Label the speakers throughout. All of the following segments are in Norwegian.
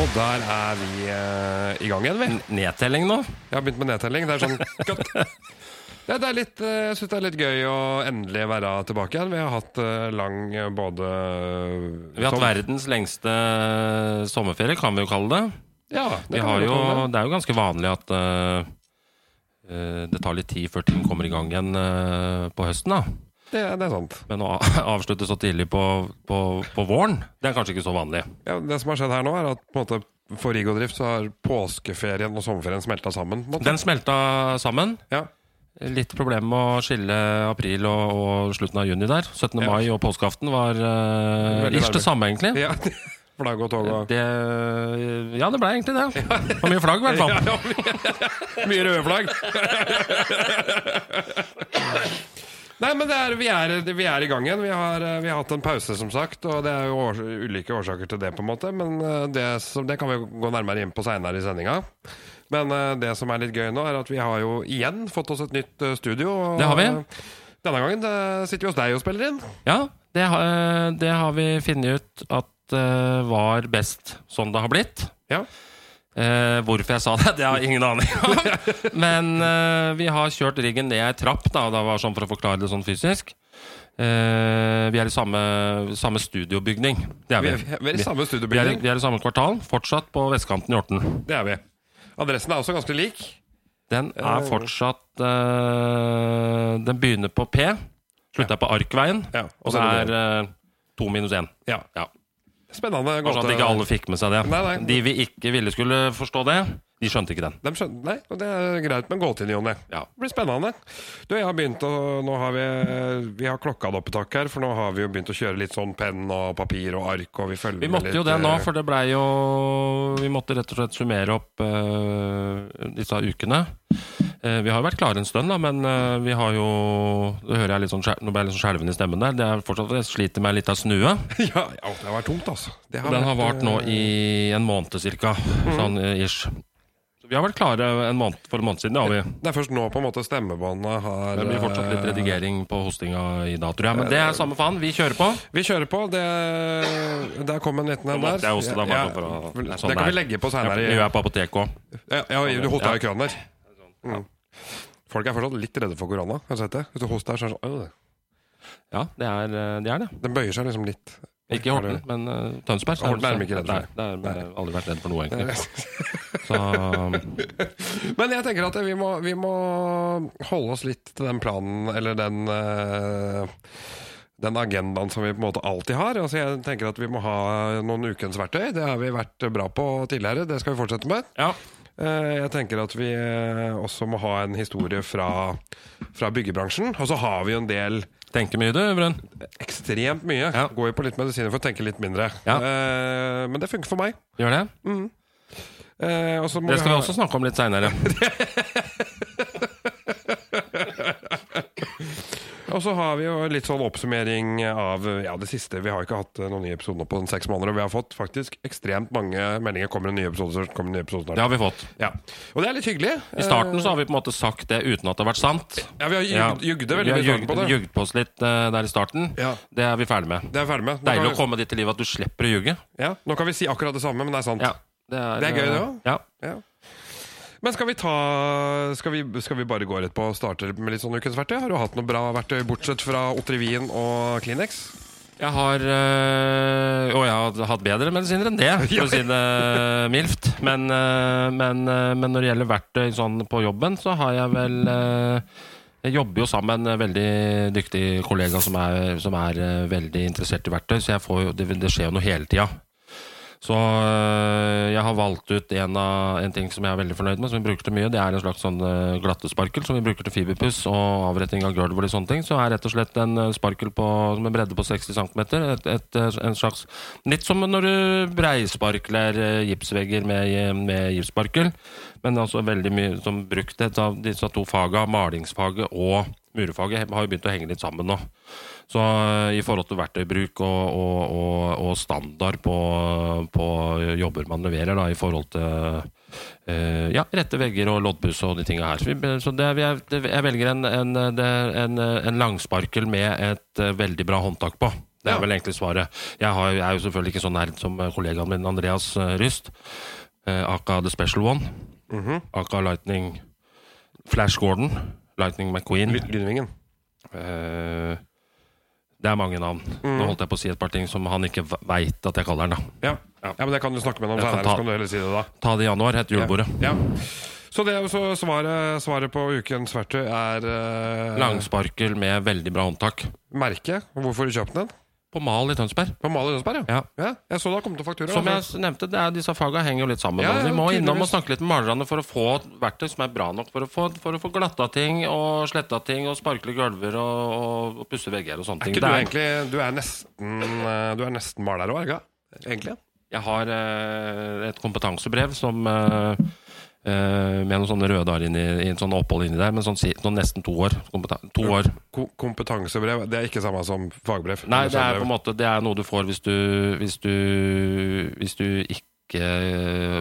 Speaker 1: Og der er vi eh, i gang igjen, vi.
Speaker 2: Nedtelling nå?
Speaker 1: Jeg har begynt med nedtelling. Det er sånn Godt. Ja, det er litt, eh, jeg syns det er litt gøy å endelig være tilbake igjen. Vi har hatt eh, lang eh, både
Speaker 2: Vi har hatt verdens lengste eh, sommerferie, kan vi jo kalle det.
Speaker 1: Ja,
Speaker 2: Vi
Speaker 1: det kan
Speaker 2: har
Speaker 1: vi
Speaker 2: jo,
Speaker 1: kalle det.
Speaker 2: det er jo ganske vanlig at eh, eh, det tar litt tid før ting kommer i gang igjen eh, på høsten. da.
Speaker 1: det, det er sant.
Speaker 2: Men å avslutte så tidlig på, på, på våren, det er kanskje ikke så vanlig.
Speaker 1: Ja, det som har skjedd her nå, er at på en måte for Rigodrift så har påskeferien og sommerferien smelta sammen. På en måte.
Speaker 2: Den smelta sammen.
Speaker 1: Ja.
Speaker 2: Litt problem med å skille april og, og slutten av juni der. 17.
Speaker 1: Ja.
Speaker 2: mai og påskeaften var uh,
Speaker 1: Veldig
Speaker 2: ish det
Speaker 1: nærme.
Speaker 2: samme, egentlig.
Speaker 1: ja. Flagg og tog og
Speaker 2: Det, eh, ja, det ble egentlig det. Det var mye flagg, i hvert fall.
Speaker 1: ja, mye- Mye røde flagg! Nei, men det er, vi, er, vi er i gang igjen. Vi har, eh, vi har hatt en pause, som sagt. Og det er jo års ulike årsaker til det, på en måte. Men eh, det, som, det kan vi jo gå nærmere inn på seinere i sendinga. Men eh, det som er litt gøy nå, er at vi har jo igjen fått oss et nytt eh, studio. Og,
Speaker 2: Det har vi.
Speaker 1: eh, Denne gangen eh, sitter vi hos deg og spiller inn.
Speaker 2: Ja, det, ha- det har vi funnet ut at eh, var best sånn det har blitt.
Speaker 1: Ja.
Speaker 2: Eh, hvorfor jeg sa det, det har jeg ingen aning om. Men eh, vi har kjørt riggen ned ei trapp, da, og det var sånn for å forklare det sånn fysisk. Eh, vi er i samme, samme studiobygning. Det er
Speaker 1: Vi
Speaker 2: vi.
Speaker 1: er, vi er i samme
Speaker 2: Vi er, i-
Speaker 1: studiobygning.
Speaker 2: vi er i samme kvartal, fortsatt på vestkanten i Horten.
Speaker 1: Det er vi. Adressen er også ganske lik.
Speaker 2: Den er fortsatt eh, Den begynner på P, slutter på Arkveien,
Speaker 1: Ja,
Speaker 2: og så er eh, to minus én.
Speaker 1: Ja.
Speaker 2: Ja.
Speaker 1: Spennende
Speaker 2: Bare sånn at ikke alle fikk med seg det.
Speaker 1: Nei, nei.
Speaker 2: De vi ikke ville skulle forstå det, de skjønte ikke den.
Speaker 1: De skjønner, nei, og Det er greit med gåtid, Jonny.
Speaker 2: Ja.
Speaker 1: Det blir spennende. Du, jeg har begynt å, nå har vi, vi har klokka det opptak her, for nå har vi jo begynt å kjøre litt sånn penn og papir og ark. og Vi følger
Speaker 2: Vi måtte
Speaker 1: litt,
Speaker 2: jo det nå,
Speaker 1: eh,
Speaker 2: for det blei jo Vi måtte rett og slett summere opp eh, disse ukene. Eh, vi har jo vært klare en stund, da, men eh, vi har jo Nå hører jeg litt sånn, skjel- nå ble jeg litt sånn skjelven i stemmen der. Det er fortsatt Jeg sliter med litt av snue.
Speaker 1: ja, ja, det har vært tungt, altså. Det Mm.
Speaker 2: Den har
Speaker 1: vært,
Speaker 2: vart nå i en måned cirka. Sånn eh, ish. Så vi har vært klare en måned for en måned siden, det har vi.
Speaker 1: Det er først nå på en måte stemmebåndet har
Speaker 2: Det blir fortsatt litt
Speaker 1: eh,
Speaker 2: redigering på hostinga i dag, tror jeg. Men det er samme faen, vi kjører på.
Speaker 1: Vi kjører på. Det, der kom en liten en
Speaker 2: måtte
Speaker 1: der.
Speaker 2: jeg hoste da, bare for å-
Speaker 1: vel,
Speaker 2: Nei, sånn
Speaker 1: det kan vi
Speaker 2: der.
Speaker 1: legge på
Speaker 2: Jeg
Speaker 1: seinere.
Speaker 2: er på- jeg er på apoteket òg.
Speaker 1: Ja, ja, du hosta
Speaker 2: Ja.
Speaker 1: i køen der. Mm. Folk er fortsatt litt redde for korona. Har du sett det? Hvis du hoster, så er det sånn øh,
Speaker 2: Ja, det er, eh, det er det.
Speaker 1: Den bøyer seg liksom litt.
Speaker 2: Ikke i Horten, men eh, Tønsberg. så
Speaker 1: Horten er de ikke redd for.
Speaker 2: Nei, det er, men jeg har aldri vært redd for noe, egentlig. Så um,
Speaker 1: Men jeg tenker at vi må, vi må holde oss litt til den planen, eller den eh, den agendaen som vi på en måte alltid har. Altså jeg tenker at Vi må ha noen ukens verktøy. Det har vi vært bra på tidligere. Det skal vi fortsette med.
Speaker 2: ja.
Speaker 1: Eh, Jeg tenker at vi eh, også må ha en historie fra, fra byggebransjen. Og så har vi jo en del
Speaker 2: Tenker mye, du, Brun.
Speaker 1: ekstremt mye.
Speaker 2: Ja.
Speaker 1: Går jo på litt medisiner for å tenke litt mindre.
Speaker 2: Ja.
Speaker 1: Eh, men det funker for meg.
Speaker 2: Gjør det?
Speaker 1: Mm. Eh, og så må
Speaker 2: Det skal vi
Speaker 1: ha-
Speaker 2: også snakke om litt seinere.
Speaker 1: Og så har vi jo litt sånn oppsummering av ja, det siste. Vi har ikke hatt eh, noen nye episoder på seks måneder, og vi har fått faktisk ekstremt mange meldinger. Kommer det nye episoder snart? Kommer det nye episoder
Speaker 2: Det
Speaker 1: snart?
Speaker 2: har vi fått.
Speaker 1: Ja. Og det er litt hyggelig.
Speaker 2: I starten så har vi på en måte sagt det uten at det har vært sant.
Speaker 1: Ja, vi har jugd,
Speaker 2: Ja.
Speaker 1: jugde veldig
Speaker 2: Vi har
Speaker 1: mye
Speaker 2: jugd-
Speaker 1: på det.
Speaker 2: jugd på oss litt eh, der i starten.
Speaker 1: Ja.
Speaker 2: Det er vi ferdig med.
Speaker 1: Det er jeg ferdig med. Nå
Speaker 2: Deilig å
Speaker 1: kan,
Speaker 2: komme dit i livet at du slipper å ljuge.
Speaker 1: vi- ja, nå kan vi si akkurat det samme, men det er sant.
Speaker 2: Ja, det, er,
Speaker 1: Det er gøy, det
Speaker 2: eh,
Speaker 1: også.
Speaker 2: Ja.
Speaker 1: Ja. Men skal vi ta skal vi, skal vi bare gå rett på og starte med litt sånn ukens verktøy? Har du hatt noe bra verktøy, bortsett fra Otrivin og Kleenex?
Speaker 2: Jeg har øh, Og jeg har hatt bedre medisiner enn det, for å si det mildt. Men, øh, men, øh, men når det gjelder verktøy sånn på jobben, så har jeg vel øh, Jeg jobber jo sammen med en veldig dyktig kollega som er, som er øh, veldig interessert i verktøy, så jeg får, jo- det, det skjer jo noe hele tida. Så øh, jeg har valgt ut en, av, en ting som jeg er veldig fornøyd med, som vi bruker til mye. Det er en slags sånn øh, glattesparkel som vi bruker til fiberpuss og avretting av gulv og litt sånne ting. Så er rett og slett en øh, sparkel på, som en bredde på 60 cm. Et, et, øh, en slags Litt som når du breisparkler øh, gipsvegger med, eh, med gipssparkel, men altså veldig mye som brukt. Et av disse to faga, malingsfaget og murfaget, har jo begynt å henge litt sammen nå. Så eh, i forhold til verktøybruk og, og, og, og standard på, på jobber man leverer, da, i forhold til eh, ja, rette vegger og loddbuss og de tinga her. Så, vi, så det, vi er, det, jeg velger en, en, det, en, en langsparkel med et eh, veldig bra håndtak på. Det er
Speaker 1: Ja.
Speaker 2: vel egentlig svaret. Jeg, har, jeg er jo selvfølgelig ikke så nerd som eh, kollegaen min Andreas eh, Ryst, eh, aka The Special One, aka Lightning Flash Gordon, Lightning McQueen.
Speaker 1: Ly- Lynvingen.
Speaker 2: Eh, det er mange navn.
Speaker 1: Mm.
Speaker 2: Nå holdt jeg på å si et par ting som han ikke veit at jeg kaller den. da.
Speaker 1: Ja. ja, men det kan du snakke med ham om
Speaker 2: Jeg kan
Speaker 1: senere,
Speaker 2: ta-
Speaker 1: så kan du heller si det da.
Speaker 2: Ta det i januar, etter julebordet.
Speaker 1: Ja. Så det er jo så svaret, svaret på ukens verktøy er eh,
Speaker 2: Langsparkel med veldig bra håndtak.
Speaker 1: merke. Hvorfor du kjøpte den?
Speaker 2: På Mal i Tønsberg.
Speaker 1: På Mali Lønsberg,
Speaker 2: Ja.
Speaker 1: ja. Jeg så det har kommet til faktura.
Speaker 2: Som jeg
Speaker 1: altså.
Speaker 2: s- nevnte, det er, disse faga henger jo litt sammen.
Speaker 1: Ja, ja,
Speaker 2: og vi må
Speaker 1: tydeligvis.
Speaker 2: innom og snakke litt med malerne for å få verktøy som er bra nok for å få, for å få glatta ting og sletta ting og sparkle gulver og, og, og pusse vegger og sånne
Speaker 1: Er ikke
Speaker 2: ting. Det
Speaker 1: du egentlig Du
Speaker 2: er-
Speaker 1: er nesten, eh, du er nesten maler òg, ikke det? Egentlig?
Speaker 2: Jeg har eh, et kompetansebrev som eh, eh, med noen sånne røde dager inni, i en sånn opphold inni der, men sånn, si- sånn nesten to år. Kompeta- To år.
Speaker 1: Ko kompetansebrev, det er ikke samme som fagbrev?
Speaker 2: Nei, det er på en måte Det er noe du får hvis du Hvis du, hvis du ikke eh,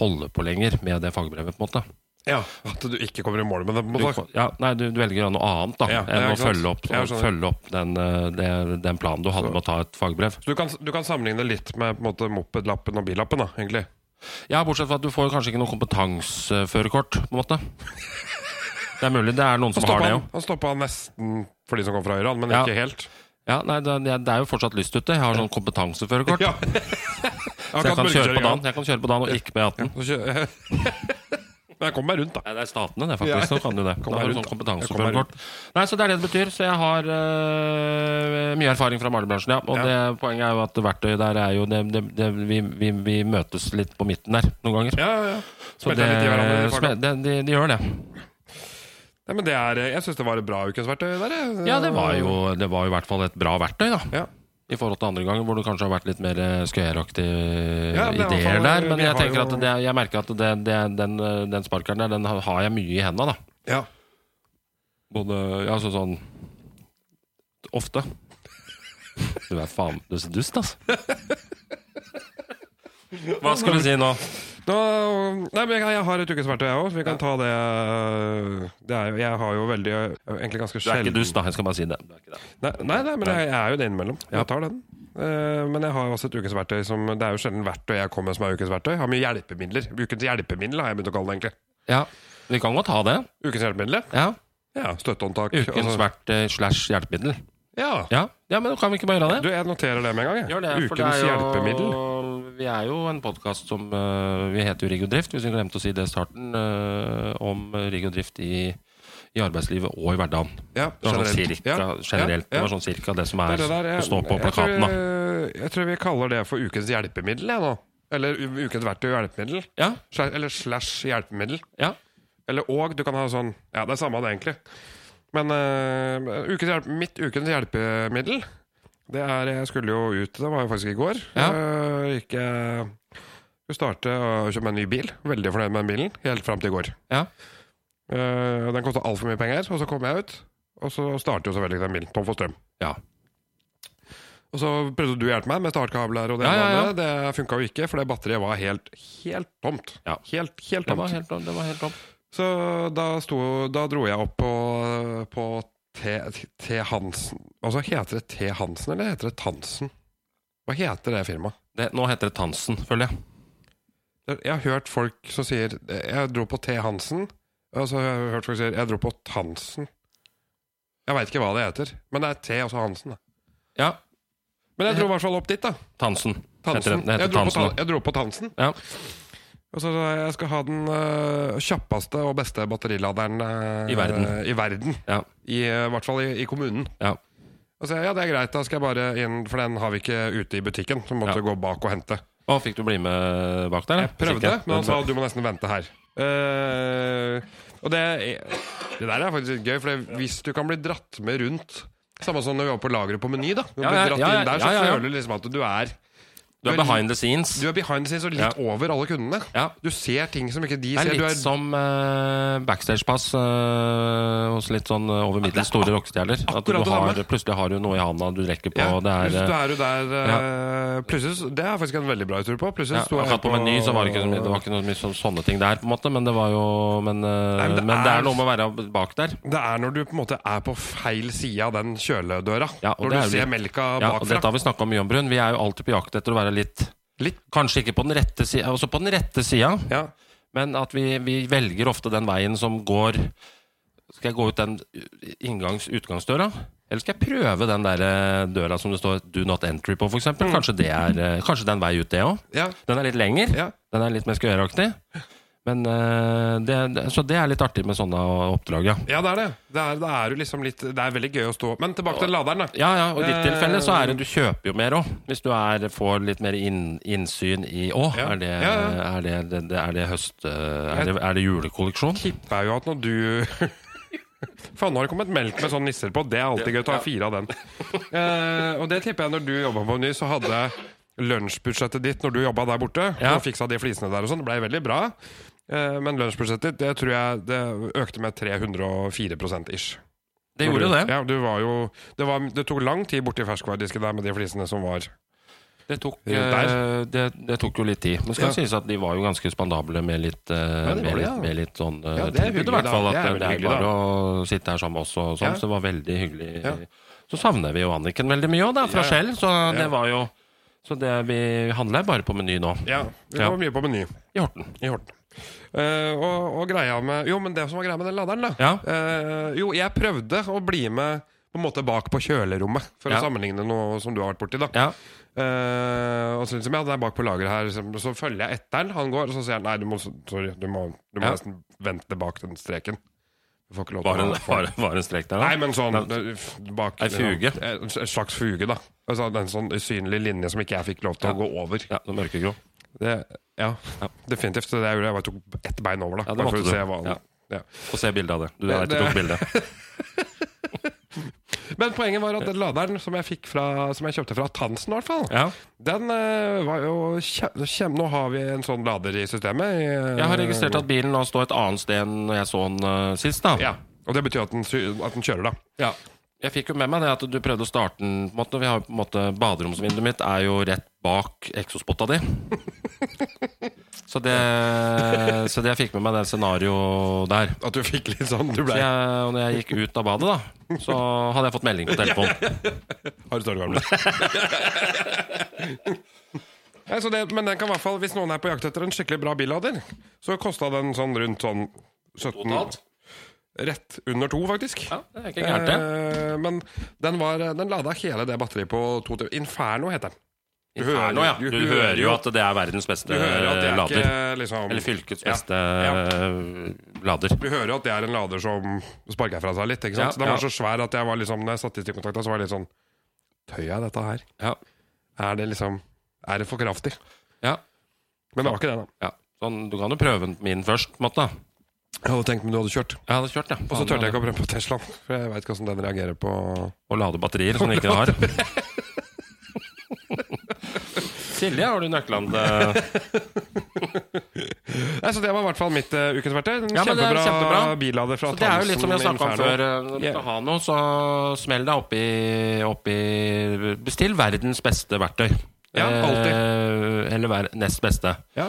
Speaker 2: holder på lenger med det fagbrevet, på en måte.
Speaker 1: Ja, At du ikke kommer i mål med det? på en
Speaker 2: Du,
Speaker 1: måte.
Speaker 2: ja, nei, du, du velger å gjøre noe annet da
Speaker 1: Ja,
Speaker 2: enn
Speaker 1: ja,
Speaker 2: å
Speaker 1: ikke sant.
Speaker 2: følge opp,
Speaker 1: Ja, jeg skjønner.
Speaker 2: følge opp den, eh, det, den planen du hadde med å ta et fagbrev.
Speaker 1: Så du kan, du kan sammenligne litt med på en måte, mopedlappen og billappen, da, egentlig?
Speaker 2: Ja, Bortsett fra at du får kanskje ikke noe kompetanseførerkort. på en måte Det er mulig det er noen som
Speaker 1: stoppa
Speaker 2: har det
Speaker 1: han,
Speaker 2: jo.
Speaker 1: han stoppa han nesten for de som kom fra Iran, men
Speaker 2: Ja.
Speaker 1: ikke helt.
Speaker 2: Ja, nei, det, det er jo fortsatt lyst ute. Jeg har sånn kompetanseførerkort.
Speaker 1: Ja.
Speaker 2: så jeg kan, kjøre på dagen, jeg kan kjøre på dagen og ikke på E18.
Speaker 1: Men jeg kom meg rundt, da.
Speaker 2: Nei, det er statene, det, faktisk. Så kan du det.
Speaker 1: Kom
Speaker 2: Da har
Speaker 1: meg
Speaker 2: du sånn
Speaker 1: rundt. Jeg kom meg
Speaker 2: kompetanseførerkort. Nei, så det er det det betyr. Så jeg har øh, mye erfaring fra malerbransjen, ja. Og
Speaker 1: Ja.
Speaker 2: Det, poenget er jo at verktøyet der er jo det, det, det, vi, vi, vi møtes litt på midten der noen ganger.
Speaker 1: Ja, ja, ja.
Speaker 2: Så
Speaker 1: Smelter litt i hverandre i farten.
Speaker 2: smed- det, de, de gjør det.
Speaker 1: Nei, men det er, eh, jeg syns det var et bra ukens verktøy der. jeg.
Speaker 2: Ja, det var, jo, det var jo i hvert fall et bra verktøy, da.
Speaker 1: Ja.
Speaker 2: I forhold til andre ganger hvor det kanskje har vært litt mer eh, skøyeraktige
Speaker 1: Ja, det er i hvert
Speaker 2: ideer
Speaker 1: fall-
Speaker 2: der. Men
Speaker 1: vi
Speaker 2: jeg
Speaker 1: har
Speaker 2: tenker at
Speaker 1: jo-
Speaker 2: det, jeg merker at det, det, den, eh, den sparkeren der, den har- har jeg mye i hendene, da.
Speaker 1: Ja.
Speaker 2: Både Ja, altså sånn Ofte. Du er faen Du er så dust, altså. Hva skulle du si nå?
Speaker 1: Nå, nei, men jeg, jeg har et ukens verktøy, jeg òg. Vi kan ta det, eh, det er, jo- Jeg har jo veldig eh, Egentlig ganske
Speaker 2: Du er ikke
Speaker 1: sjelden
Speaker 2: dust, da. Jeg skal bare si det. Du er ikke det.
Speaker 1: Nei, nei, nei, men jeg, jeg er jo det innimellom.
Speaker 2: Ja.
Speaker 1: Jeg tar den. Eh, men jeg har også et ukens verktøy som Det er jo sjelden verktøy jeg kommer med som er ukens verktøy. Jeg har mye hjelpemidler. Ukens hjelpemiddel har jeg begynt å kalle det, egentlig.
Speaker 2: Ja, vi kan godt ha det.
Speaker 1: Ukens hjelpemidler?
Speaker 2: Ja.
Speaker 1: Ja, Støttehåndtak.
Speaker 2: Ukens
Speaker 1: altså.
Speaker 2: verktøy slash hjelpemiddel.
Speaker 1: Ja.
Speaker 2: Ja. ja, men kan vi ikke bare gjøre det?
Speaker 1: Du, jeg noterer det med en gang. Jeg.
Speaker 2: Gjør det, for det
Speaker 1: Ukens
Speaker 2: er jo,
Speaker 1: hjelpemiddel.
Speaker 2: Vi er jo en podkast som øh, Vi heter jo Rigg og Drift, hvis vi glemte å si det i starten. øh, om rigg og drift i, i arbeidslivet og i hverdagen.
Speaker 1: Ja,
Speaker 2: Det var sånn
Speaker 1: generelt.
Speaker 2: cirka,
Speaker 1: Ja,
Speaker 2: generelt.
Speaker 1: ja, ja.
Speaker 2: Det var sånn cirka det som
Speaker 1: Det
Speaker 2: er,
Speaker 1: er det der, jeg-
Speaker 2: å stå på
Speaker 1: jeg
Speaker 2: plakaten. da.
Speaker 1: tror- Jeg tror vi kaller det for ukens hjelpemiddel, jeg nå. Eller u- ukens verktøy og hjelpemiddel.
Speaker 2: Ja,
Speaker 1: Sla- Eller slash hjelpemiddel.
Speaker 2: ja.
Speaker 1: Eller og. Du kan ha sånn Ja, det er samme det, egentlig. Men eh, ukens hjelp, mitt ukens hjelpemiddel Det er Jeg skulle jo ut, det var jo faktisk i går.
Speaker 2: Ja.
Speaker 1: Eh, gikk jeg Skulle starte å kjøpe meg en ny bil. Veldig fornøyd med den bilen. Helt fram til i går.
Speaker 2: Ja.
Speaker 1: Eh, den kosta altfor mye penger, og så kom jeg ut. Og så starter jo selvfølgelig den bilen. Tom for strøm.
Speaker 2: Ja.
Speaker 1: Og så prøvde du å hjelpe meg med startkabler og det
Speaker 2: Ja,
Speaker 1: ene og
Speaker 2: ja, ja.
Speaker 1: andre. Det funka jo ikke, for det batteriet var helt, helt tomt.
Speaker 2: Ja.
Speaker 1: Helt, helt
Speaker 2: Det
Speaker 1: tomt.
Speaker 2: var helt, det var helt tomt.
Speaker 1: Så da, sto, da dro jeg opp på, på T, T. Hansen Altså, heter det T. Hansen, eller heter det Tansen? Hva heter det firmaet?
Speaker 2: Det, nå heter det Tansen, føler jeg.
Speaker 1: Jeg har hørt folk som sier 'jeg dro på T. Hansen', og så har jeg hørt folk si 'jeg dro på Tansen'. Jeg veit ikke hva det heter, men det er T og så Hansen. Da.
Speaker 2: Ja,
Speaker 1: Men jeg dro i hvert fall opp dit, da.
Speaker 2: Tansen. Heter det,
Speaker 1: Tansen.
Speaker 2: det
Speaker 1: Jeg
Speaker 2: heter
Speaker 1: dro, på,
Speaker 2: Tansen.
Speaker 1: Tan- jeg dro på Tansen.
Speaker 2: Ja.
Speaker 1: Og så sa jeg jeg skal ha den eh, kjappeste og beste batteriladeren eh,
Speaker 2: I verden.
Speaker 1: I, verden.
Speaker 2: Ja.
Speaker 1: I, eh, hvert fall i, i kommunen.
Speaker 2: Ja.
Speaker 1: Og så sa jeg ja, det er greit, da skal jeg bare inn, for den har vi ikke ute i butikken. Så måtte
Speaker 2: Ja.
Speaker 1: jeg gå bak og hente.
Speaker 2: Å, fikk du bli med bak der? eller?
Speaker 1: Jeg prøvde,
Speaker 2: Sikkert.
Speaker 1: men altså, han sa du må nesten vente her. Eh, og det, det der er faktisk litt gøy, for hvis du kan bli dratt med rundt Samme som når vi var på lageret på Meny. da Du
Speaker 2: Ja,
Speaker 1: blir
Speaker 2: ja,
Speaker 1: dratt
Speaker 2: ja,
Speaker 1: inn der,
Speaker 2: ja, ja,
Speaker 1: så
Speaker 2: ja.
Speaker 1: føler du liksom at du er
Speaker 2: Du er
Speaker 1: Du er-
Speaker 2: behind the scenes.
Speaker 1: Du er behind the scenes og litt over alle kundene.
Speaker 2: Ja.
Speaker 1: Du ser ting som ikke de
Speaker 2: Det
Speaker 1: ser.
Speaker 2: er
Speaker 1: Du
Speaker 2: litt sånn,
Speaker 1: er,
Speaker 2: som eh, backstagepass eh, hos litt sånn eh, over middels store rockestjerner. At du
Speaker 1: akkurat det
Speaker 2: har,
Speaker 1: samme.
Speaker 2: plutselig har du noe i handa du rekker på.
Speaker 1: ja,
Speaker 2: Det er,
Speaker 1: plutselig
Speaker 2: eh,
Speaker 1: er du der eh, plutselig, Det er faktisk en veldig bra tur på. Plutselig
Speaker 2: eh, ja,
Speaker 1: sto jeg
Speaker 2: akkurat på Meny så var det ikke så mye, det var ikke noe mye sånn, sånne ting der, på en måte. Men det var jo Men, eh,
Speaker 1: Nei, men det
Speaker 2: men, det
Speaker 1: er-
Speaker 2: er noe med å være bak der.
Speaker 1: Det er når du på en måte er på feil side av den kjøledøra.
Speaker 2: Ja, og
Speaker 1: når du
Speaker 2: det er jo
Speaker 1: ser
Speaker 2: litt-
Speaker 1: melka
Speaker 2: Ja, og
Speaker 1: bakfra.
Speaker 2: dette har vi snakka mye om, Brun. Vi er jo alltid på jakt etter å være litt
Speaker 1: Litt.
Speaker 2: Kanskje ikke på den rette sida, også på den rette sida,
Speaker 1: Ja.
Speaker 2: men at vi, vi velger ofte den veien som går Skal jeg gå ut den inngangs- utgangsdøra? Eller skal jeg prøve den der eh, døra som det står 'do not entry' på, f.eks.?
Speaker 1: Mm.
Speaker 2: Kanskje det er eh, Kanskje det er en vei ut, det òg?
Speaker 1: Ja.
Speaker 2: Den er litt lenger.
Speaker 1: Ja.
Speaker 2: Den er litt mer skøyeraktig. Men eh, det, det- Så det er litt artig med sånne oppdrag, ja.
Speaker 1: ja, det er det. Det er, det er jo liksom litt Det er veldig gøy å stå Men tilbake til laderen, da.
Speaker 2: Ja, ja, og i ditt
Speaker 1: Eh,
Speaker 2: tilfelle så er det du kjøper jo mer òg. Hvis du er, får litt mer inn, innsyn i Å,
Speaker 1: Ja.
Speaker 2: er, det,
Speaker 1: Ja, ja.
Speaker 2: er det, det, det, er det høst... eh, Er det, er det julekolleksjon?
Speaker 1: tipper jeg jo at når du Faen, nå har det kommet melk med sånn nisser på. Det er alltid gøy å ta fire av den. Eh, og det tipper jeg når du jobba på Ny, så hadde lunsjbudsjettet ditt når du jobba der borte,
Speaker 2: Ja.
Speaker 1: og fiksa de flisene der og sånn, det blei veldig bra. Eh, men lunsjbudsjettet ditt, det tror jeg det økte med 304 ish.
Speaker 2: Det gjorde jo det.
Speaker 1: Ja, du var jo, det, var, det tok lang tid borti ferskvaredisken der med de flisene som var
Speaker 2: Det tok,
Speaker 1: Rundt
Speaker 2: eh, det, det tok jo litt tid. Men
Speaker 1: Ja.
Speaker 2: skal det sies at de var jo ganske spandable med litt, eh,
Speaker 1: det var
Speaker 2: med
Speaker 1: det,
Speaker 2: litt,
Speaker 1: ja.
Speaker 2: med litt sånn eh,
Speaker 1: Ja, det er
Speaker 2: tilbud,
Speaker 1: hyggelig,
Speaker 2: i hvert
Speaker 1: da.
Speaker 2: fall. At
Speaker 1: Det er
Speaker 2: det,
Speaker 1: veldig
Speaker 2: det er
Speaker 1: hyggelig,
Speaker 2: bare å sitte her sammen med oss og sånn,
Speaker 1: Ja.
Speaker 2: så det var veldig hyggelig.
Speaker 1: Ja.
Speaker 2: Så savner vi jo Anniken veldig mye òg, da, fra
Speaker 1: Ja.
Speaker 2: Shell. Så
Speaker 1: Ja.
Speaker 2: det var jo Så det vi handler bare på Meny nå,
Speaker 1: Ja, vi
Speaker 2: Ja.
Speaker 1: var mye på Meny
Speaker 2: i Horten.
Speaker 1: i Horten. Eh, og, og greia med Jo, men det som var greia med den laderen, da
Speaker 2: Ja.
Speaker 1: Eh, jo, jeg prøvde å bli med på en måte bak på kjølerommet, for
Speaker 2: Ja.
Speaker 1: å sammenligne noe som du har vært borti. da
Speaker 2: Ja.
Speaker 1: Eh, Og så liksom, ja, det er bak på lageret her liksom, Så følger jeg etter han, han går, og så sier han nei, du må, sorry, du må, du må
Speaker 2: Ja.
Speaker 1: nesten vente bak den streken. Du får ikke lov
Speaker 2: Var
Speaker 1: til
Speaker 2: en,
Speaker 1: å
Speaker 2: var, en- var en strek der, da?
Speaker 1: Nei, men sånn eh, f- bak,
Speaker 2: Ei fuge.
Speaker 1: eh, En slags fuge, da. Altså, en sånn usynlig linje som ikke jeg fikk lov til å gå over.
Speaker 2: Ja, noe mørkegrå.
Speaker 1: Det, ja,
Speaker 2: Ja.
Speaker 1: definitivt. Det gjorde jeg. Jeg bare tok ett bein over, da.
Speaker 2: Ja, det
Speaker 1: bare
Speaker 2: måtte
Speaker 1: for å
Speaker 2: du.
Speaker 1: se hva han
Speaker 2: Ja. Få se bildet av det. Du
Speaker 1: Det-
Speaker 2: vet du
Speaker 1: det-
Speaker 2: tok bildet.
Speaker 1: Men poenget var at den laderen som jeg, fikk fra, som jeg kjøpte fra Tansen, i hvert fall
Speaker 2: Ja.
Speaker 1: Den eh, var jo kjem, kjem, Nå har vi en sånn lader i systemet. i, eh,
Speaker 2: Jeg har registrert at bilen nå står et annet sted enn når jeg så den eh, sist, da.
Speaker 1: Ja, Og det betyr at den, sy- at den kjører, da.
Speaker 2: Ja. Jeg fikk jo med meg det at du prøvde å starte den på en måte. Vi har jo på en måte Baderomsvinduet mitt er jo rett bak eksospotta di. Så det, så det jeg fikk med meg det scenarioet der.
Speaker 1: At du fikk litt sånn Du
Speaker 2: Så
Speaker 1: ble
Speaker 2: jeg, og når jeg gikk ut av badet, da, så hadde jeg fått melding på telefonen.
Speaker 1: Har du større gamle? Nei, så det, men den kan i hvert fall, hvis noen er på jakt etter en skikkelig bra billader, så kosta den sånn rundt sånn 17 Rett under to, faktisk.
Speaker 2: Ja, det er ikke gærent, det.
Speaker 1: Eh, men den, var, den lada hele det batteriet på to timer. Inferno heter den. Eh, Du hører-
Speaker 2: Inferno, ja.
Speaker 1: du
Speaker 2: Du
Speaker 1: hører
Speaker 2: hører jo
Speaker 1: jo-
Speaker 2: at det er verdens beste
Speaker 1: Du hører at det er
Speaker 2: eh, lader.
Speaker 1: ikke liksom
Speaker 2: Eller fylkets
Speaker 1: Ja,
Speaker 2: beste
Speaker 1: ja.
Speaker 2: eh, lader.
Speaker 1: Du hører jo at det er en lader som sparker fra seg litt. ikke sant?
Speaker 2: Ja,
Speaker 1: Den
Speaker 2: ja.
Speaker 1: var så svær at jeg var liksom, når jeg satte i stikkontakta, så var jeg litt sånn Tør jeg dette her?
Speaker 2: Ja.
Speaker 1: Er det liksom Er det for kraftig?
Speaker 2: Ja.
Speaker 1: Men det var ikke det, da.
Speaker 2: ja. Sånn, du kan jo prøve min først, på en måte. da.
Speaker 1: Jeg hadde tenkt, men du hadde kjørt.
Speaker 2: Jeg hadde kjørt, ja.
Speaker 1: Og så turte jeg ikke å prøve på Teslaen, for jeg veit ikke hvordan den reagerer på
Speaker 2: Og lade batterier som de ikke har. Silje, har du eh, nøklene til
Speaker 1: Nei, Så det var i hvert fall mitt eh, ukens verktøy. En
Speaker 2: Ja, men det er
Speaker 1: kjempebra,
Speaker 2: kjempebra.
Speaker 1: billader fra
Speaker 2: Så Det er jo litt som jeg snakka om før. eh, Når du
Speaker 1: Yeah.
Speaker 2: skal ha noe, så smell deg oppi, oppi Bestill verdens beste verktøy.
Speaker 1: Ja, alltid.
Speaker 2: Eh, eller ver nest beste.
Speaker 1: Ja.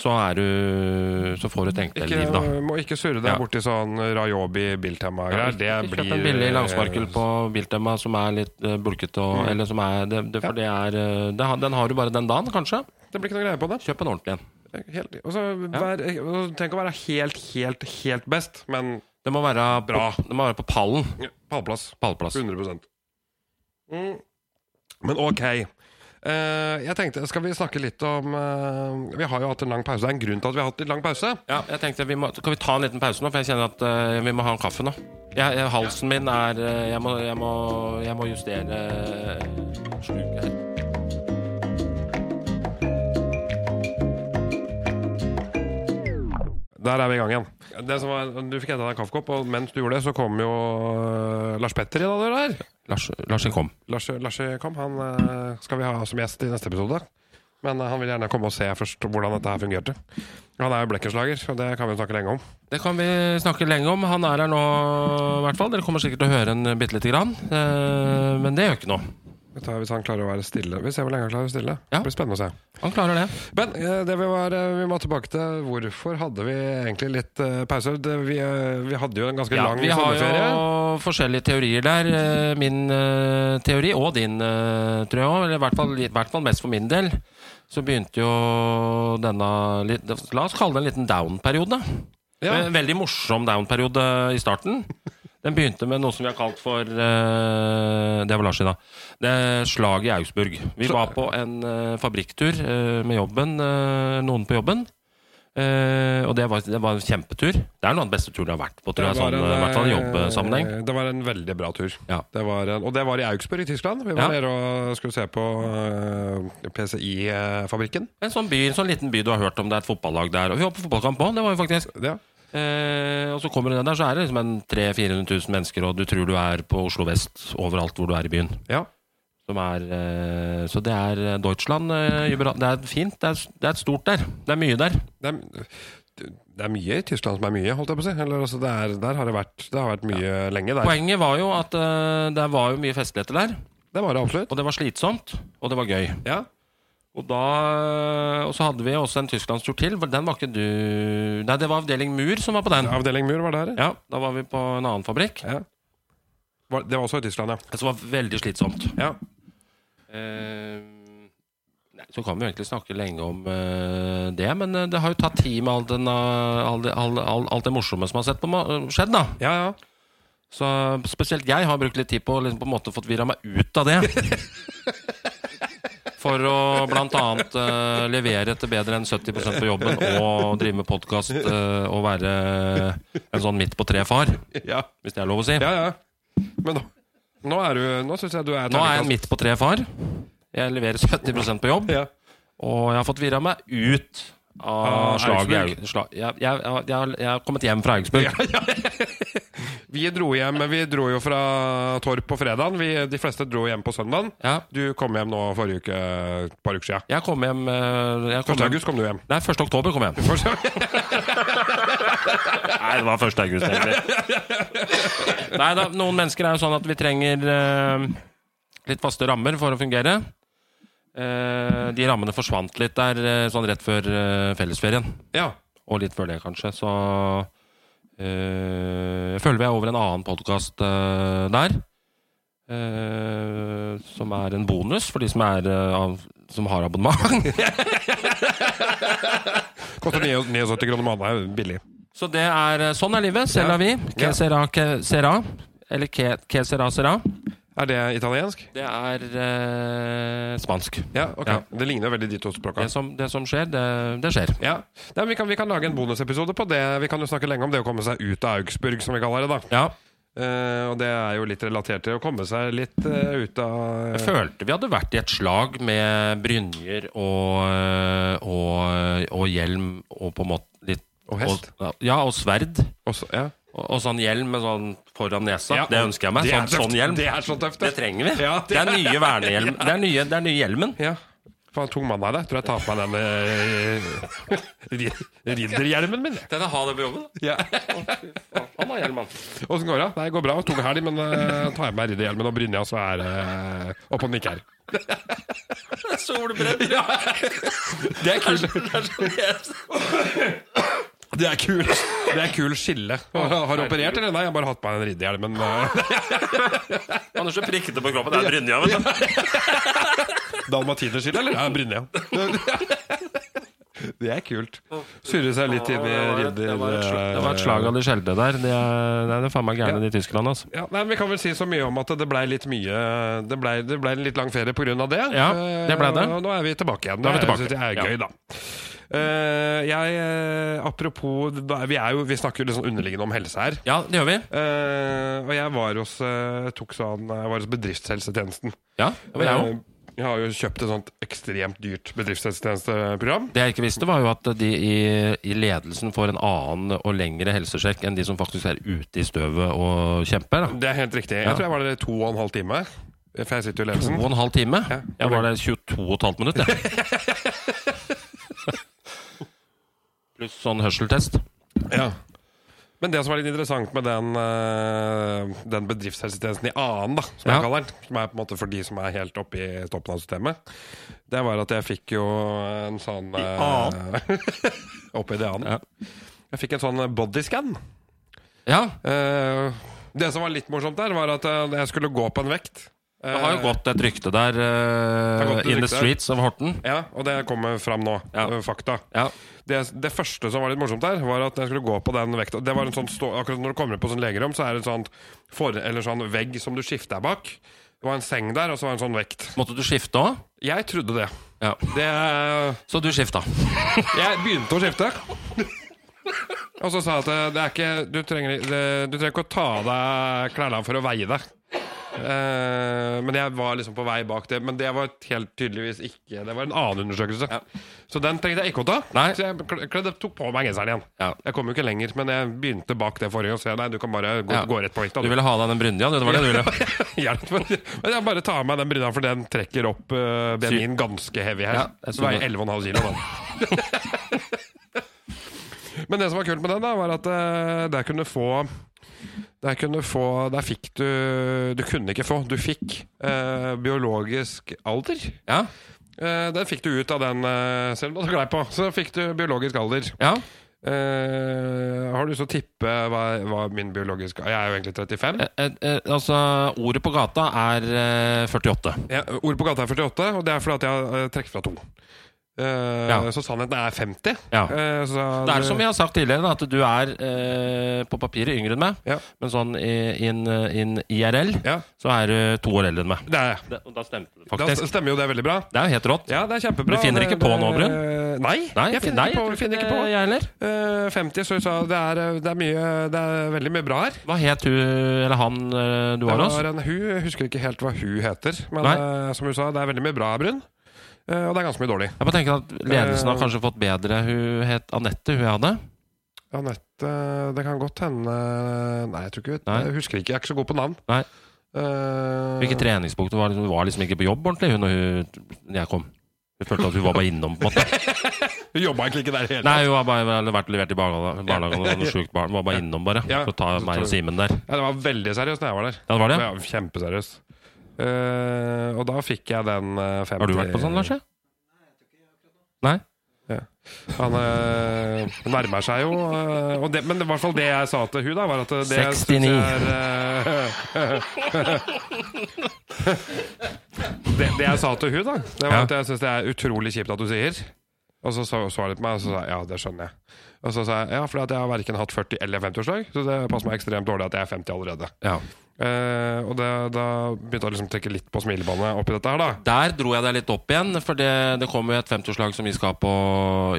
Speaker 2: Så er du Så får du tenkt deg liv, da.
Speaker 1: Ikke, må ikke surre deg
Speaker 2: Ja.
Speaker 1: borti sånn Rayobi Biltema-greier. Det
Speaker 2: Ikke
Speaker 1: blir eh,
Speaker 2: Kjøp en billig langsparkel på Biltema som er litt eh, bulkete og Eller som er det, det, For det er eh, det, har- Den har du bare den dagen, kanskje.
Speaker 1: Det blir ikke noe greie på det.
Speaker 2: Kjøp en ordentlig en.
Speaker 1: Helt, og så vær, og Tenk å være helt, helt, helt best, men
Speaker 2: Det må være bra.
Speaker 1: Bra.
Speaker 2: På, det må være på pallen.
Speaker 1: pallplass.
Speaker 2: Pallplass.
Speaker 1: 100 mm. Men ok. Eh, jeg tenkte, Skal vi snakke litt om eh, Vi har jo hatt en lang pause. Det er en grunn til at vi har hatt en lang pause.
Speaker 2: Ja, jeg tenkte vi må, Kan vi ta en liten pause nå, for jeg kjenner at eh, vi må ha en kaffe nå. Jeg, jeg, halsen min er eh, jeg, må, jeg, må, jeg må justere eh, sluket her.
Speaker 1: Der er vi i gang igjen. Det som var, du fikk henta deg en kaffekopp, og mens du gjorde det, så kom jo eh, Lars Petter inn av døra her.
Speaker 2: Lars, Larsen, kom.
Speaker 1: Lars, Lars kom, han eh, skal vi ha som gjest i neste episode. Men eh, han vil gjerne komme og se først hvordan dette her fungerte. Han er jo blekkenslager, og det kan vi jo snakke lenge om.
Speaker 2: Det kan vi snakke lenge om. Han er her nå, i hvert fall. Dere kommer sikkert til å høre en bitte lite grann. Eh, men det gjør ikke noe.
Speaker 1: Vet du hva, Hvis han klarer å være stille Vi ser hvor lenge han klarer å stille.
Speaker 2: Ja.
Speaker 1: Det blir spennende å se.
Speaker 2: Han klarer det.
Speaker 1: Men eh, det vi, var, eh, vi må tilbake til hvorfor hadde vi egentlig litt eh, pauser? Det, vi, eh, vi hadde jo en ganske lang
Speaker 2: vi har
Speaker 1: sommerferie.
Speaker 2: jo forskjellige teorier der. Eh, Min eh, teori, og din, eh, tror jeg òg, eller i hvert, fall, i hvert fall mest for min del, så begynte jo denne litt- La oss kalle det en liten down-periode.
Speaker 1: Ja.
Speaker 2: En Veldig morsom down-periode i starten. Den begynte med noe som vi har kalt for eh, Det var Lars i dag. Det er Slaget i Augsburg. Vi
Speaker 1: Så-
Speaker 2: var på en eh, fabrikktur eh, med jobben, eh, noen på jobben. Eh, og det var, det var en kjempetur. Det er noe av den beste turen jeg har vært på, tror jeg. Sånn, I hvert fall i jobbsammenheng.
Speaker 1: eh, Det var en veldig bra tur.
Speaker 2: Ja.
Speaker 1: Det var en, og det var i Augsburg i Tyskland. Vi var
Speaker 2: Ja.
Speaker 1: der og skulle se på eh, PCI-fabrikken.
Speaker 2: En sånn by, en sånn liten by du har hørt om, det er et fotballag der. Og vi var på fotballkamp òg, det var jo faktisk.
Speaker 1: Ja.
Speaker 2: Eh, og så kommer du ned der, så er det liksom en 300 400 000 mennesker, og du tror du er på Oslo vest overalt hvor du er i byen.
Speaker 1: Ja.
Speaker 2: Som er, eh, så det er eh, Deutschland. Eh, Jubera- det er fint. Det er, det er et stort der. Det er mye der.
Speaker 1: Det, er, det er mye i Tyskland som er mye, holdt jeg på å si. Eller, altså, det er, der har det vært, det har vært mye lenge. Der.
Speaker 2: Poenget var jo at eh, det var jo mye festligheter der.
Speaker 1: Det var det absolutt.
Speaker 2: Og det var slitsomt, og det var gøy.
Speaker 1: Ja.
Speaker 2: Og, da, og så hadde vi også en tysklandstur til. for Den var ikke du Nei, det var avdeling Mur som var på den. Ja.
Speaker 1: Avdeling Mur var der.
Speaker 2: Da var vi på en annen fabrikk.
Speaker 1: Ja. Var, det var også i Tyskland, ja.
Speaker 2: Det var veldig slitsomt.
Speaker 1: ja.
Speaker 2: Eh, nei, så kan vi jo egentlig snakke lenge om eh, det, men eh, det har jo tatt tid med all den, eh, all det- all, all, alt det morsomme som har sett på, ma- skjedd. da
Speaker 1: Ja, ja.
Speaker 2: Så spesielt jeg har brukt litt tid på å liksom på en måte fått vira meg ut av det. For å blant annet eh, levere til bedre enn 70 på jobben og drive med podkast og være en sånn midt på tre-far,
Speaker 1: ja.
Speaker 2: hvis det er lov å si.
Speaker 1: Ja, ja. Men nå, nå er du Nå syns jeg du er
Speaker 2: Nå er jeg en midt på tre-far. Jeg leverer 70 på jobb.
Speaker 1: Ja.
Speaker 2: Og jeg har fått virra meg ut av
Speaker 1: Av
Speaker 2: slaget. i
Speaker 1: Augsburg.
Speaker 2: Aug- Slag. Jeg, jeg, jeg, jeg, har- jeg har kommet hjem fra Augsburg.
Speaker 1: Vi dro hjem Vi dro jo fra Torp på fredagen. Vi, de fleste dro hjem på søndagen.
Speaker 2: Ja.
Speaker 1: Du kom hjem nå forrige uke, et par uker siden.
Speaker 2: Jeg kom hjem, eh, jeg kom
Speaker 1: 1.
Speaker 2: hjem.
Speaker 1: august kom du hjem.
Speaker 2: Nei, 1. oktober kom jeg hjem. Nei, det var 1. august, egentlig. Nei da, noen mennesker er jo sånn at vi trenger eh, litt faste rammer for å fungere. Eh, de rammene forsvant litt der eh, sånn rett før eh, fellesferien.
Speaker 1: Ja.
Speaker 2: Og litt før det, kanskje. Så eh, jeg føler vi er over en annen podkast der. eh, som er en bonus for de som, er, eh, av, som har abonnement.
Speaker 1: Koster 79 kroner måneden. er Billig.
Speaker 2: Så det er eh, sånn er livet. Selv er vi.
Speaker 1: Ja.
Speaker 2: Que sera, que sera. Eller que, que sera, sera.
Speaker 1: Er det italiensk?
Speaker 2: Det er eh, spansk.
Speaker 1: Ja, ok.
Speaker 2: Ja.
Speaker 1: Det ligner jo veldig de to språka.
Speaker 2: Det som, det som skjer, det, det skjer.
Speaker 1: Ja. Nei, men vi, kan, vi kan lage en bonusepisode på det. Vi kan jo snakke lenge om det å komme seg ut av Augsburg, som vi kaller det. da
Speaker 2: Ja.
Speaker 1: Eh, Og det er jo litt relatert til å komme seg litt eh, ut av
Speaker 2: Jeg følte vi hadde vært i et slag med brynjer og, eh, og, og hjelm og på en måte litt
Speaker 1: Og hest.
Speaker 2: ja, og sverd.
Speaker 1: Også, ja.
Speaker 2: Og, og sånn hjelm med sånn foran nesa.
Speaker 1: Ja,
Speaker 2: det ønsker jeg meg.
Speaker 1: det er
Speaker 2: Sånn,
Speaker 1: tøft.
Speaker 2: sånn hjelm.
Speaker 1: Det er så tøft.
Speaker 2: Det trenger vi.
Speaker 1: Ja,
Speaker 2: det, er nye vernehjelm. Det er nye, det er nye hjelmen.
Speaker 1: Ja. Faen, tung mann er det. Tror jeg tar på meg den eh, ri- ridderhjelmen min.
Speaker 2: Den er ha det på jobben.
Speaker 1: Ja.
Speaker 2: Han har hjelm, han.
Speaker 1: Åssen går det? Nei, det går bra. Tung helg, men eh, tar jeg på meg ridderhjelmen og brynja, så er det eh, opp og nikker.
Speaker 2: Solbrent. Ja. sånn-
Speaker 1: Det er kult. Det er kult Det er kul skille. Har, har du operert, eller? Nei, jeg har bare hatt på meg den ridderhjelmen. eh,
Speaker 2: Anders er prikkete på kroppen. Det er brynja, vet du.
Speaker 1: Dalmatinerskille, eller? Ja, brynja. Det er kult. Surre seg litt inn i ridder... eh,
Speaker 2: Det var et slag- det var et slag av de sjeldne der. Det er, det er faen meg gærne i Tyskland, altså.
Speaker 1: Ja, nei, men Vi kan vel si så mye om at det blei litt mye Det blei det ble en litt lang ferie pga. det.
Speaker 2: Ja,
Speaker 1: Eh,
Speaker 2: det ble det.
Speaker 1: Og nå er vi tilbake igjen.
Speaker 2: er vi tilbake.
Speaker 1: synes Det er
Speaker 2: Ja.
Speaker 1: gøy, da. Eh, jeg, eh, apropos da- Vi, er jo, vi snakker jo litt sånn underliggende om helse her.
Speaker 2: Ja, det gjør vi.
Speaker 1: Eh, og jeg var hos, eh, tok sånn, jeg var hos bedriftshelsetjenesten.
Speaker 2: Ja, det var jeg òg.
Speaker 1: Eh, jeg har jo kjøpt et sånt ekstremt dyrt bedriftshelsetjenesteprogram.
Speaker 2: Det jeg ikke visste, var jo at de i, i ledelsen får en annen og lengre helsesjekk enn de som faktisk er ute i støvet og kjemper. Da.
Speaker 1: Det er helt riktig.
Speaker 2: Ja.
Speaker 1: Jeg tror jeg var der i to og en halv time. For jeg sitter jo i
Speaker 2: To
Speaker 1: ledelsen.
Speaker 2: og en halv time.
Speaker 1: Ja.
Speaker 2: Jeg var der 22 og et halvt minutt. jeg. sånn hørselstest.
Speaker 1: Ja. Men det som er litt interessant med den, eh, den bedriftshelsetjenesten i annen, da, som
Speaker 2: Ja.
Speaker 1: jeg kaller den, som er på en måte for de som er helt oppe i toppen av systemet, det var at jeg fikk jo en sånn eh, Oppe i det annen. Jeg fikk en sånn bodyscan.
Speaker 2: Ja.
Speaker 1: Eh, det som var litt morsomt der, var at eh, jeg skulle gå på en vekt.
Speaker 2: Det har jo gått et rykte der. eh,
Speaker 1: har gått et
Speaker 2: in the
Speaker 1: rykte.
Speaker 2: streets of Horten.
Speaker 1: Ja, og det kommer fram nå.
Speaker 2: Ja.
Speaker 1: eh, Fakta.
Speaker 2: Ja.
Speaker 1: Det, det første som var litt morsomt der, var at jeg skulle gå på den vekta. Det var en sånn stå, akkurat når du kommer inn på sånn legerom, så er det en sånn, for, eller sånn vegg som du skifter deg bak. Det var en seng der, og så var det en sånn vekt.
Speaker 2: Måtte du skifte òg?
Speaker 1: Jeg trodde det.
Speaker 2: Ja.
Speaker 1: det
Speaker 2: Så du skifta.
Speaker 1: jeg begynte å skifte. Og så sa jeg at eh, det er ikke, du, trenger, det, du trenger ikke å ta av deg klærne for å veie deg. Eh, men jeg var liksom på vei bak det. Men det var helt tydeligvis ikke Det var en annen undersøkelse. Så den trengte jeg ikke å ta.
Speaker 2: Nei.
Speaker 1: Så jeg kl- kledde, tok på meg genseren igjen.
Speaker 2: Ja.
Speaker 1: Jeg kom jo ikke lenger, men jeg begynte bak det forrige. Og så jeg, nei, du kan bare gå,
Speaker 2: Ja.
Speaker 1: gå rett på vekta.
Speaker 2: Du ville ha deg den brynja, du. Det var det du ville.
Speaker 1: Hjelp meg. Men jeg bare tar av meg den bryna, for den trekker opp uh, BMI-en ganske heavy her.
Speaker 2: Ja, jeg
Speaker 1: det
Speaker 2: så
Speaker 1: veier
Speaker 2: det.
Speaker 1: 11,5 kilo, da. Men det som var kult med den, da, var at eh, der kunne få der kunne få Der fikk du Du kunne ikke få. Du fikk eh, biologisk alder.
Speaker 2: Ja.
Speaker 1: Eh, den fikk du ut av den, eh, selv om du hadde glei på. Så fikk du biologisk alder.
Speaker 2: ja.
Speaker 1: Eh, har du lyst til å tippe hva, hva min biologiske Jeg er jo egentlig 35.
Speaker 2: Eh, eh, altså, ordet på gata er eh, 48.
Speaker 1: Ja, ordet på gata er 48, og det er fordi at jeg har eh, trukket fra to. Eh,
Speaker 2: Ja.
Speaker 1: Så sannheten er 50.
Speaker 2: Ja.
Speaker 1: Eh, så
Speaker 2: Det er som vi har sagt tidligere, da, at du er eh, på papiret yngre enn meg,
Speaker 1: Ja.
Speaker 2: men sånn i- in, in IRL
Speaker 1: Ja,
Speaker 2: så er du to år eldre enn meg.
Speaker 1: det er jeg.
Speaker 2: Det, og da stemte det
Speaker 1: Da
Speaker 2: faktisk.
Speaker 1: stemmer jo det veldig bra.
Speaker 2: Det er jo helt rått.
Speaker 1: Ja, det er kjempebra.
Speaker 2: Du finner
Speaker 1: Det-
Speaker 2: ikke på
Speaker 1: det- Eh,
Speaker 2: nå,
Speaker 1: Nei,
Speaker 2: Nei,
Speaker 1: jeg finner
Speaker 2: nei,
Speaker 1: ikke på.
Speaker 2: jeg
Speaker 1: Jeg finner ikke på.
Speaker 2: Jeg heller.
Speaker 1: Eh, 50, så sa det er, eh, det, er mye, det er veldig mye bra her.
Speaker 2: Hva het hun eller han eh, du
Speaker 1: Det
Speaker 2: var hos?
Speaker 1: var en hun, jeg husker ikke helt hva hun heter, men
Speaker 2: Nei.
Speaker 1: eh, som hun sa, det er veldig mye bra, Brun. Eh, og det er ganske mye dårlig.
Speaker 2: Jeg bare tenker at Ledelsen
Speaker 1: Eh.
Speaker 2: har kanskje fått bedre. Hun het Anette, hun jeg hadde.
Speaker 1: Anette, eh, det kan godt hende Nei, jeg tror ikke
Speaker 2: Nei.
Speaker 1: Jeg husker ikke, jeg er ikke så god på navn.
Speaker 2: Nei.
Speaker 1: Eh,
Speaker 2: Hvilken treningsbok det var? Hun var liksom ikke på jobb ordentlig hun, når hun, når jeg kom. Hun følte at hun var bare innom. på en måte
Speaker 1: Hun jobba egentlig ikke der i hele
Speaker 2: Nei, hun har bare hadde vært levert i barnehagen barnehagen og hadde noe sjukt barn. Hun var bare innom, bare.
Speaker 1: Ja.
Speaker 2: For å ta meg og Simen der.
Speaker 1: Ja, det var veldig seriøst når jeg var der.
Speaker 2: Ja, det var det?
Speaker 1: Ja, Kjempeseriøst. Eh, og da fikk jeg den eh, 50
Speaker 2: Har du vært på sånn, Lars? Nei?
Speaker 1: Han eh, nærmer seg jo eh, og det, Men det var i hvert fall det jeg sa til hun da, var at eh, det synes
Speaker 2: 69.
Speaker 1: jeg er eh, det, det jeg sa til hun da, det var
Speaker 2: Ja.
Speaker 1: at jeg syns det er utrolig kjipt at du sier. Og så så så hun på meg og så sa jeg, ja, det skjønner jeg. Og så sa jeg ja, fordi at jeg har verken hatt 40- eller 50-årsdag, så det passer meg ekstremt dårlig at jeg er 50 allerede.
Speaker 2: Ja.
Speaker 1: Eh, og det, da begynte jeg liksom å trekke litt på smilebåndet oppi dette her, da.
Speaker 2: Der dro jeg deg litt opp igjen, for det, det kommer jo et 50-årslag som vi skal på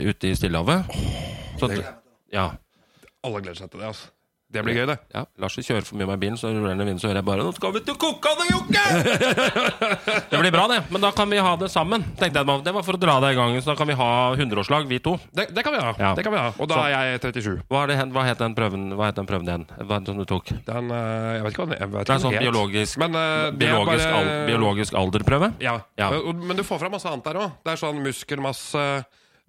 Speaker 2: ute i Stillehavet. Så at, ja,
Speaker 1: Alle gleder seg til det, altså. Det blir gøy, det.
Speaker 2: ja. Lars kjører for mye med bilen, så ruller han i vinduet, så hører jeg bare 'Nå skal vi til Kokkan og Jokke!' det blir bra, det. Men da kan vi ha det sammen. Tenkte jeg meg om. Det var for å dra deg i gang. Så da kan vi ha 100-årslag, vi to.
Speaker 1: Det, det kan vi ha.
Speaker 2: Ja.
Speaker 1: Det kan vi ha. Og da er jeg 37.
Speaker 2: Hva, er det, hen- hva het den prøven Hva het den prøven igjen? Hva er det som du tok? Det
Speaker 1: Den, eh, jeg vet ikke hva den jeg vet ikke
Speaker 2: er
Speaker 1: hva
Speaker 2: sånn
Speaker 1: den het.
Speaker 2: biologisk,
Speaker 1: Men, eh, det er
Speaker 2: biologisk,
Speaker 1: bare-
Speaker 2: al, biologisk alderprøve?
Speaker 1: Ja.
Speaker 2: Ja.
Speaker 1: Og- og- Men du får fra masse annet der òg. Det er sånn muskelmasse,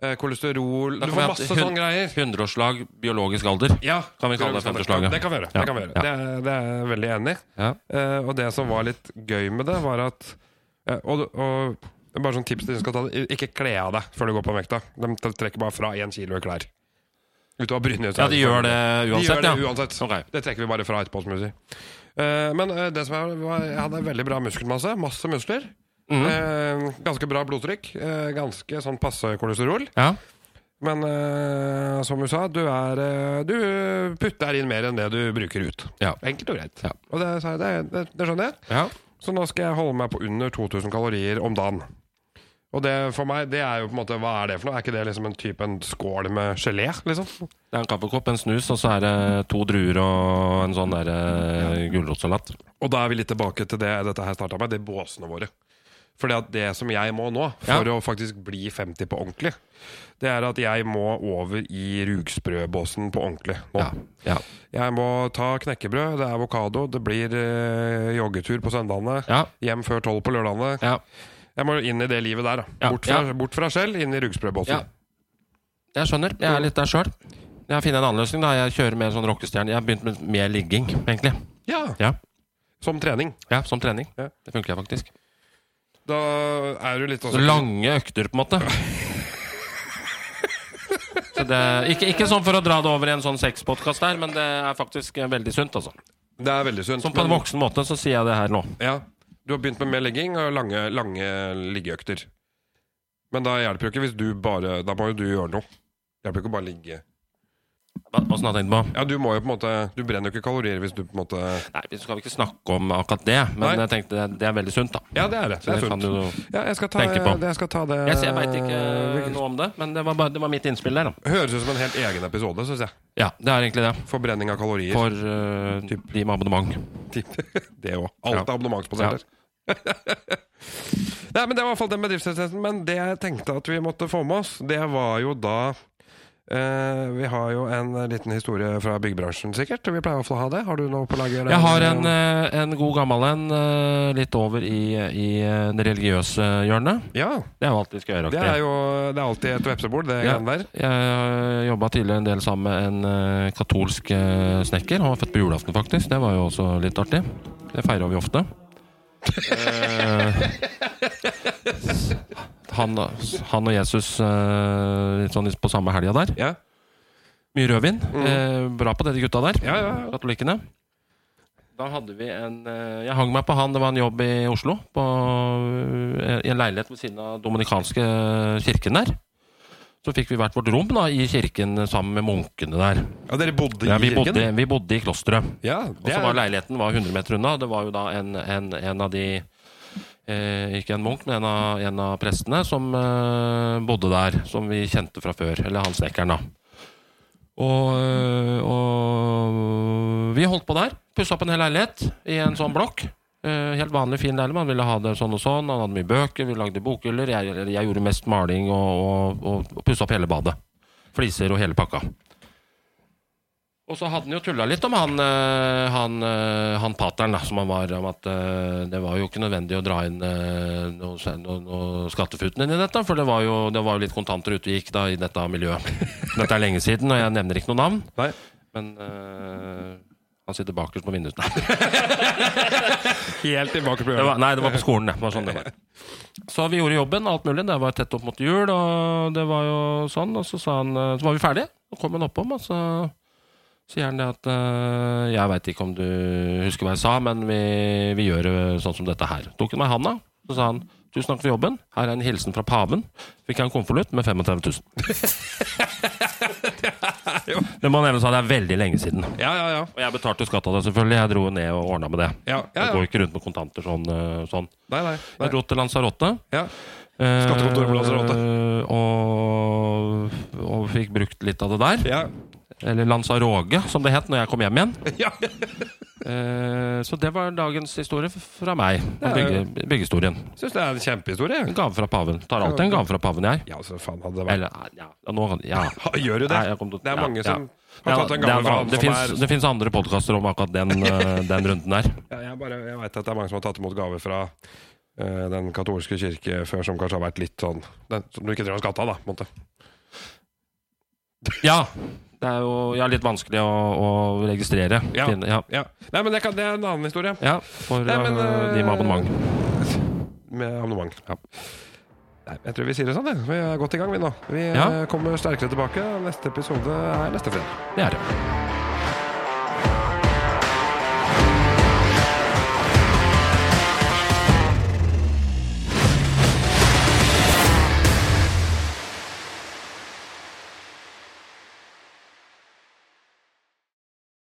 Speaker 1: eh, kolesterol
Speaker 2: Da
Speaker 1: Du
Speaker 2: kan vi
Speaker 1: får
Speaker 2: ha
Speaker 1: masse
Speaker 2: hun-
Speaker 1: sånne greier.
Speaker 2: 100-årslag, biologisk alder.
Speaker 1: Ja,
Speaker 2: Kan vi kalle det femteslaget?
Speaker 1: Det kan vi gjøre.
Speaker 2: Ja.
Speaker 1: Det, kan vi gjøre.
Speaker 2: Ja.
Speaker 1: Det, er, det er jeg veldig enig i.
Speaker 2: Ja.
Speaker 1: Eh, og det som var litt gøy med det, var at eh, og, og bare sånn tips til de som skal ta det, ikke kle av deg før du går på vekta. De t- trekker bare fra én kilo i klær. Ute av brynja.
Speaker 2: Ja, de gjør
Speaker 1: de
Speaker 2: det
Speaker 1: gjør
Speaker 2: uansett,
Speaker 1: det
Speaker 2: ja.
Speaker 1: uansett.
Speaker 2: Ok.
Speaker 1: Det trekker vi bare fra etterpå, som du sier. Eh, men eh, det som er, var, jeg hadde veldig bra muskelmasse. Masse muskler.
Speaker 2: Mhm. Mm.
Speaker 1: Eh, ganske bra blodtrykk. eh, ganske sånn passe kolesterol.
Speaker 2: Ja.
Speaker 1: Men eh, som du sa, du, er, eh, du putter inn mer enn det du bruker ut.
Speaker 2: Ja.
Speaker 1: Enkelt og greit.
Speaker 2: Ja.
Speaker 1: Og det, sa jeg, det, det, det skjønner jeg.
Speaker 2: ja.
Speaker 1: Så nå skal jeg holde meg på under 2000 kalorier om dagen. Og det for meg, det er jo på en måte, hva er det for noe? Er ikke det liksom en type en skål med gelé, liksom?
Speaker 2: Det er en kaffekopp, en snus, og så er det to druer og en sånn der eh, gulrotsalat.
Speaker 1: Og da er vi litt tilbake til det dette her starta med, det er båsene våre. For det, at det som jeg må nå, for å faktisk bli 50 på ordentlig, det er at jeg må over i rugsprøbåsen på ordentlig nå.
Speaker 2: Ja. Ja.
Speaker 1: Jeg må ta knekkebrød, det er avokado, det blir eh, joggetur på søndagene,
Speaker 2: Ja.
Speaker 1: hjem før tolv på lørdagene.
Speaker 2: ja.
Speaker 1: Jeg må inn i det livet der, da.
Speaker 2: Ja,
Speaker 1: Bort fra, bort fra skjell, inn i rugsprøbåsen.
Speaker 2: Ja. Jeg skjønner. Jeg er litt der sjøl. Jeg har funnet en annen løsning. da Jeg kjører mer sånn rockestjerne. Jeg har begynt med mer ligging, egentlig.
Speaker 1: Ja.
Speaker 2: Ja.
Speaker 1: Som trening.
Speaker 2: Ja, Som trening.
Speaker 1: Ja.
Speaker 2: Det funker faktisk.
Speaker 1: Da er du litt
Speaker 2: Så
Speaker 1: også
Speaker 2: lange økter, på en måte. Så det, ikke, ikke sånn for å dra det over i en sånn sexpodkast der, men det er faktisk eh, veldig sunt. altså
Speaker 1: Det er veldig sunt.
Speaker 2: Som på en
Speaker 1: men-
Speaker 2: voksen måte så sier jeg det her nå.
Speaker 1: Ja. Du har begynt med mer legging og lange, lange liggeøkter. Men da hjelper det ikke hvis du bare Da må jo du gjøre noe. Hjelper ikke å bare ligge.
Speaker 2: Hva- Åssen har jeg tenkt på?
Speaker 1: Ja, du må jo på en måte Du brenner jo ikke kalorier hvis du på en måte
Speaker 2: Nei, vi skal ikke snakke om akkurat det, men
Speaker 1: Nei.
Speaker 2: jeg tenkte det, det er veldig sunt, da.
Speaker 1: Ja, det er det.
Speaker 2: Så
Speaker 1: Det er
Speaker 2: det kan
Speaker 1: sunt. Eh,
Speaker 2: du
Speaker 1: Ja, jeg skal ta,
Speaker 2: tenke på.
Speaker 1: det- Jeg skal ta det
Speaker 2: Jeg, jeg veit ikke eh, noe om det, men det var, bare, det var mitt innspill der, da.
Speaker 1: Høres ut som en helt egen episode, syns jeg.
Speaker 2: Ja, det er egentlig det.
Speaker 1: Forbrenning av kalorier.
Speaker 2: For eh, de med abonnement.
Speaker 1: det òg. Alt er
Speaker 2: Ja.
Speaker 1: abonnementsbasert. her. Nei, men Det var i hvert fall den bedriftsresensen. Men det jeg tenkte at vi måtte få med oss, det var jo da eh, Vi har jo en liten historie fra byggebransjen, sikkert. Vi pleier i hvert fall å ha det. Har du noe på lager?
Speaker 2: Jeg har en, eh, en god gammel en eh, litt over i, i eh, det religiøse hjørnet.
Speaker 1: Ja.
Speaker 2: Det er jo alltid
Speaker 1: Det er
Speaker 2: skøyeraktig.
Speaker 1: jo det er alltid et vepsebol, det
Speaker 2: Ja.
Speaker 1: greiene der.
Speaker 2: Jeg jobba tidligere en del sammen med en eh, katolsk eh, snekker. Han var født på julaften, faktisk. Det var jo også litt artig. Det feirer vi ofte. Eh, han, han og Jesus eh, litt sånn på samme helga der.
Speaker 1: Ja,
Speaker 2: Mye rødvin. Eh, bra på det, de gutta der.
Speaker 1: ja, ja. ja.
Speaker 2: Katolikkene. Da hadde vi en eh, Jeg hang meg på han. Det var en jobb i Oslo. På, eh, I en leilighet ved siden av dominikanske kirken der. Så fikk vi hvert vårt rom da, i kirken sammen med munkene der.
Speaker 1: ja dere bodde
Speaker 2: Ja,
Speaker 1: i
Speaker 2: vi,
Speaker 1: kirken?
Speaker 2: bodde, vi bodde i klosteret.
Speaker 1: Ja,
Speaker 2: Og
Speaker 1: det
Speaker 2: så
Speaker 1: er,
Speaker 2: var leiligheten var 100 meter unna. Det var jo da en, en, en av de eh, Ikke en munk, men en av, en av prestene som eh, bodde der. Som vi kjente fra før. Eller han snekkeren, da. Og, eh, og vi holdt på der. Pussa opp en hel leilighet i en sånn blokk. Eh, helt vanlig, fin leilighet. Man ville ha det sånn og sånn. Han hadde mye bøker, vi lagde bokhyller. Jeg, jeg gjorde mest maling og, og, og, og pussa opp hele badet. Fliser og hele pakka. Og så hadde han jo tulla litt om han, eh, han, eh, han pateren, da, som han var, om at eh, det var jo ikke nødvendig å dra inn eh, noe, se- noe, noe skattefuten inn i dette, for det var jo, det var jo litt kontanter ute og gikk da i dette miljøet. Dette er lenge siden, og jeg nevner ikke noe navn,
Speaker 1: Nei.
Speaker 2: men eh, han sitter bakerst på vinduet. Nei,
Speaker 1: Helt tilbake på
Speaker 2: det
Speaker 1: hjørnet.
Speaker 2: var, nei, det var på skolen, det. det var sånn det var. Så vi gjorde jobben, alt mulig. Det var tett opp mot jul, og det var jo sånn. Og så, sa han, eh, så var vi ferdige, og kom han oppom, og så sier han det at eh, Jeg veit ikke om du husker hva jeg sa, men vi, vi gjør det sånn som dette her. Tok han meg i handa, så sa han tusen takk for jobben, her er en hilsen fra paven. Fikk jeg en konvolutt med 35 000. det må nevnes at det er veldig lenge siden.
Speaker 1: Ja, ja, ja.
Speaker 2: Og jeg betalte jo skatt av det, selvfølgelig. Jeg dro jo ned og ordna med det.
Speaker 1: ja, ja,
Speaker 2: Jeg
Speaker 1: ja.
Speaker 2: går ikke rundt med kontanter sånn. eh, sånn.
Speaker 1: Nei, nei. nei.
Speaker 2: Jeg dro til Lanzarote.
Speaker 1: Ja.
Speaker 2: eh,
Speaker 1: Skattekontoret på Lanzarote.
Speaker 2: eh, Og, og fikk brukt litt av det der.
Speaker 1: Ja.
Speaker 2: Eller Lanzaroge, som det het når jeg kom hjem igjen.
Speaker 1: Ja.
Speaker 2: Eh, Så det var dagens historie f- fra meg. om
Speaker 1: Det er
Speaker 2: Bygge, byggehistorien.
Speaker 1: Syns det er en kjempehistorie.
Speaker 2: En gave fra paven. Tar alltid en gave fra paven, jeg.
Speaker 1: Ja, så faen hadde det vært
Speaker 2: Eller, eh, ja, ja, nå, ja.
Speaker 1: Ha, Gjør du det?
Speaker 2: Nei, jeg kom til å-
Speaker 1: det er
Speaker 2: ja,
Speaker 1: mange
Speaker 2: ja.
Speaker 1: som har
Speaker 2: Ja,
Speaker 1: tatt en
Speaker 2: det
Speaker 1: gammel
Speaker 2: er bra.
Speaker 1: faen
Speaker 2: det
Speaker 1: som
Speaker 2: fins-
Speaker 1: er
Speaker 2: det fins andre podkaster om akkurat den, eh, den runden der.
Speaker 1: ja, Jeg, bare, jeg vet at det er mange som har tatt imot gaver fra eh, den katolske kirke før, som kanskje har vært litt sånn den, Som du ikke trenger å skatte av, da. på en måte.
Speaker 2: Ja. Det er jo ja, litt vanskelig å, å registrere.
Speaker 1: Ja.
Speaker 2: Fin- ja.
Speaker 1: Ja. Nei, men det, kan, det er en annen historie.
Speaker 2: Ja, for
Speaker 1: Nei, men,
Speaker 2: eh, de med
Speaker 1: eh,
Speaker 2: abonnement.
Speaker 1: Med abonnement. Nei, jeg tror vi sier det sånn, det. Vi er godt i gang, vi nå. Vi
Speaker 2: Ja.
Speaker 1: eh, kommer sterkere tilbake. Neste episode er neste fredag.
Speaker 2: Det er det.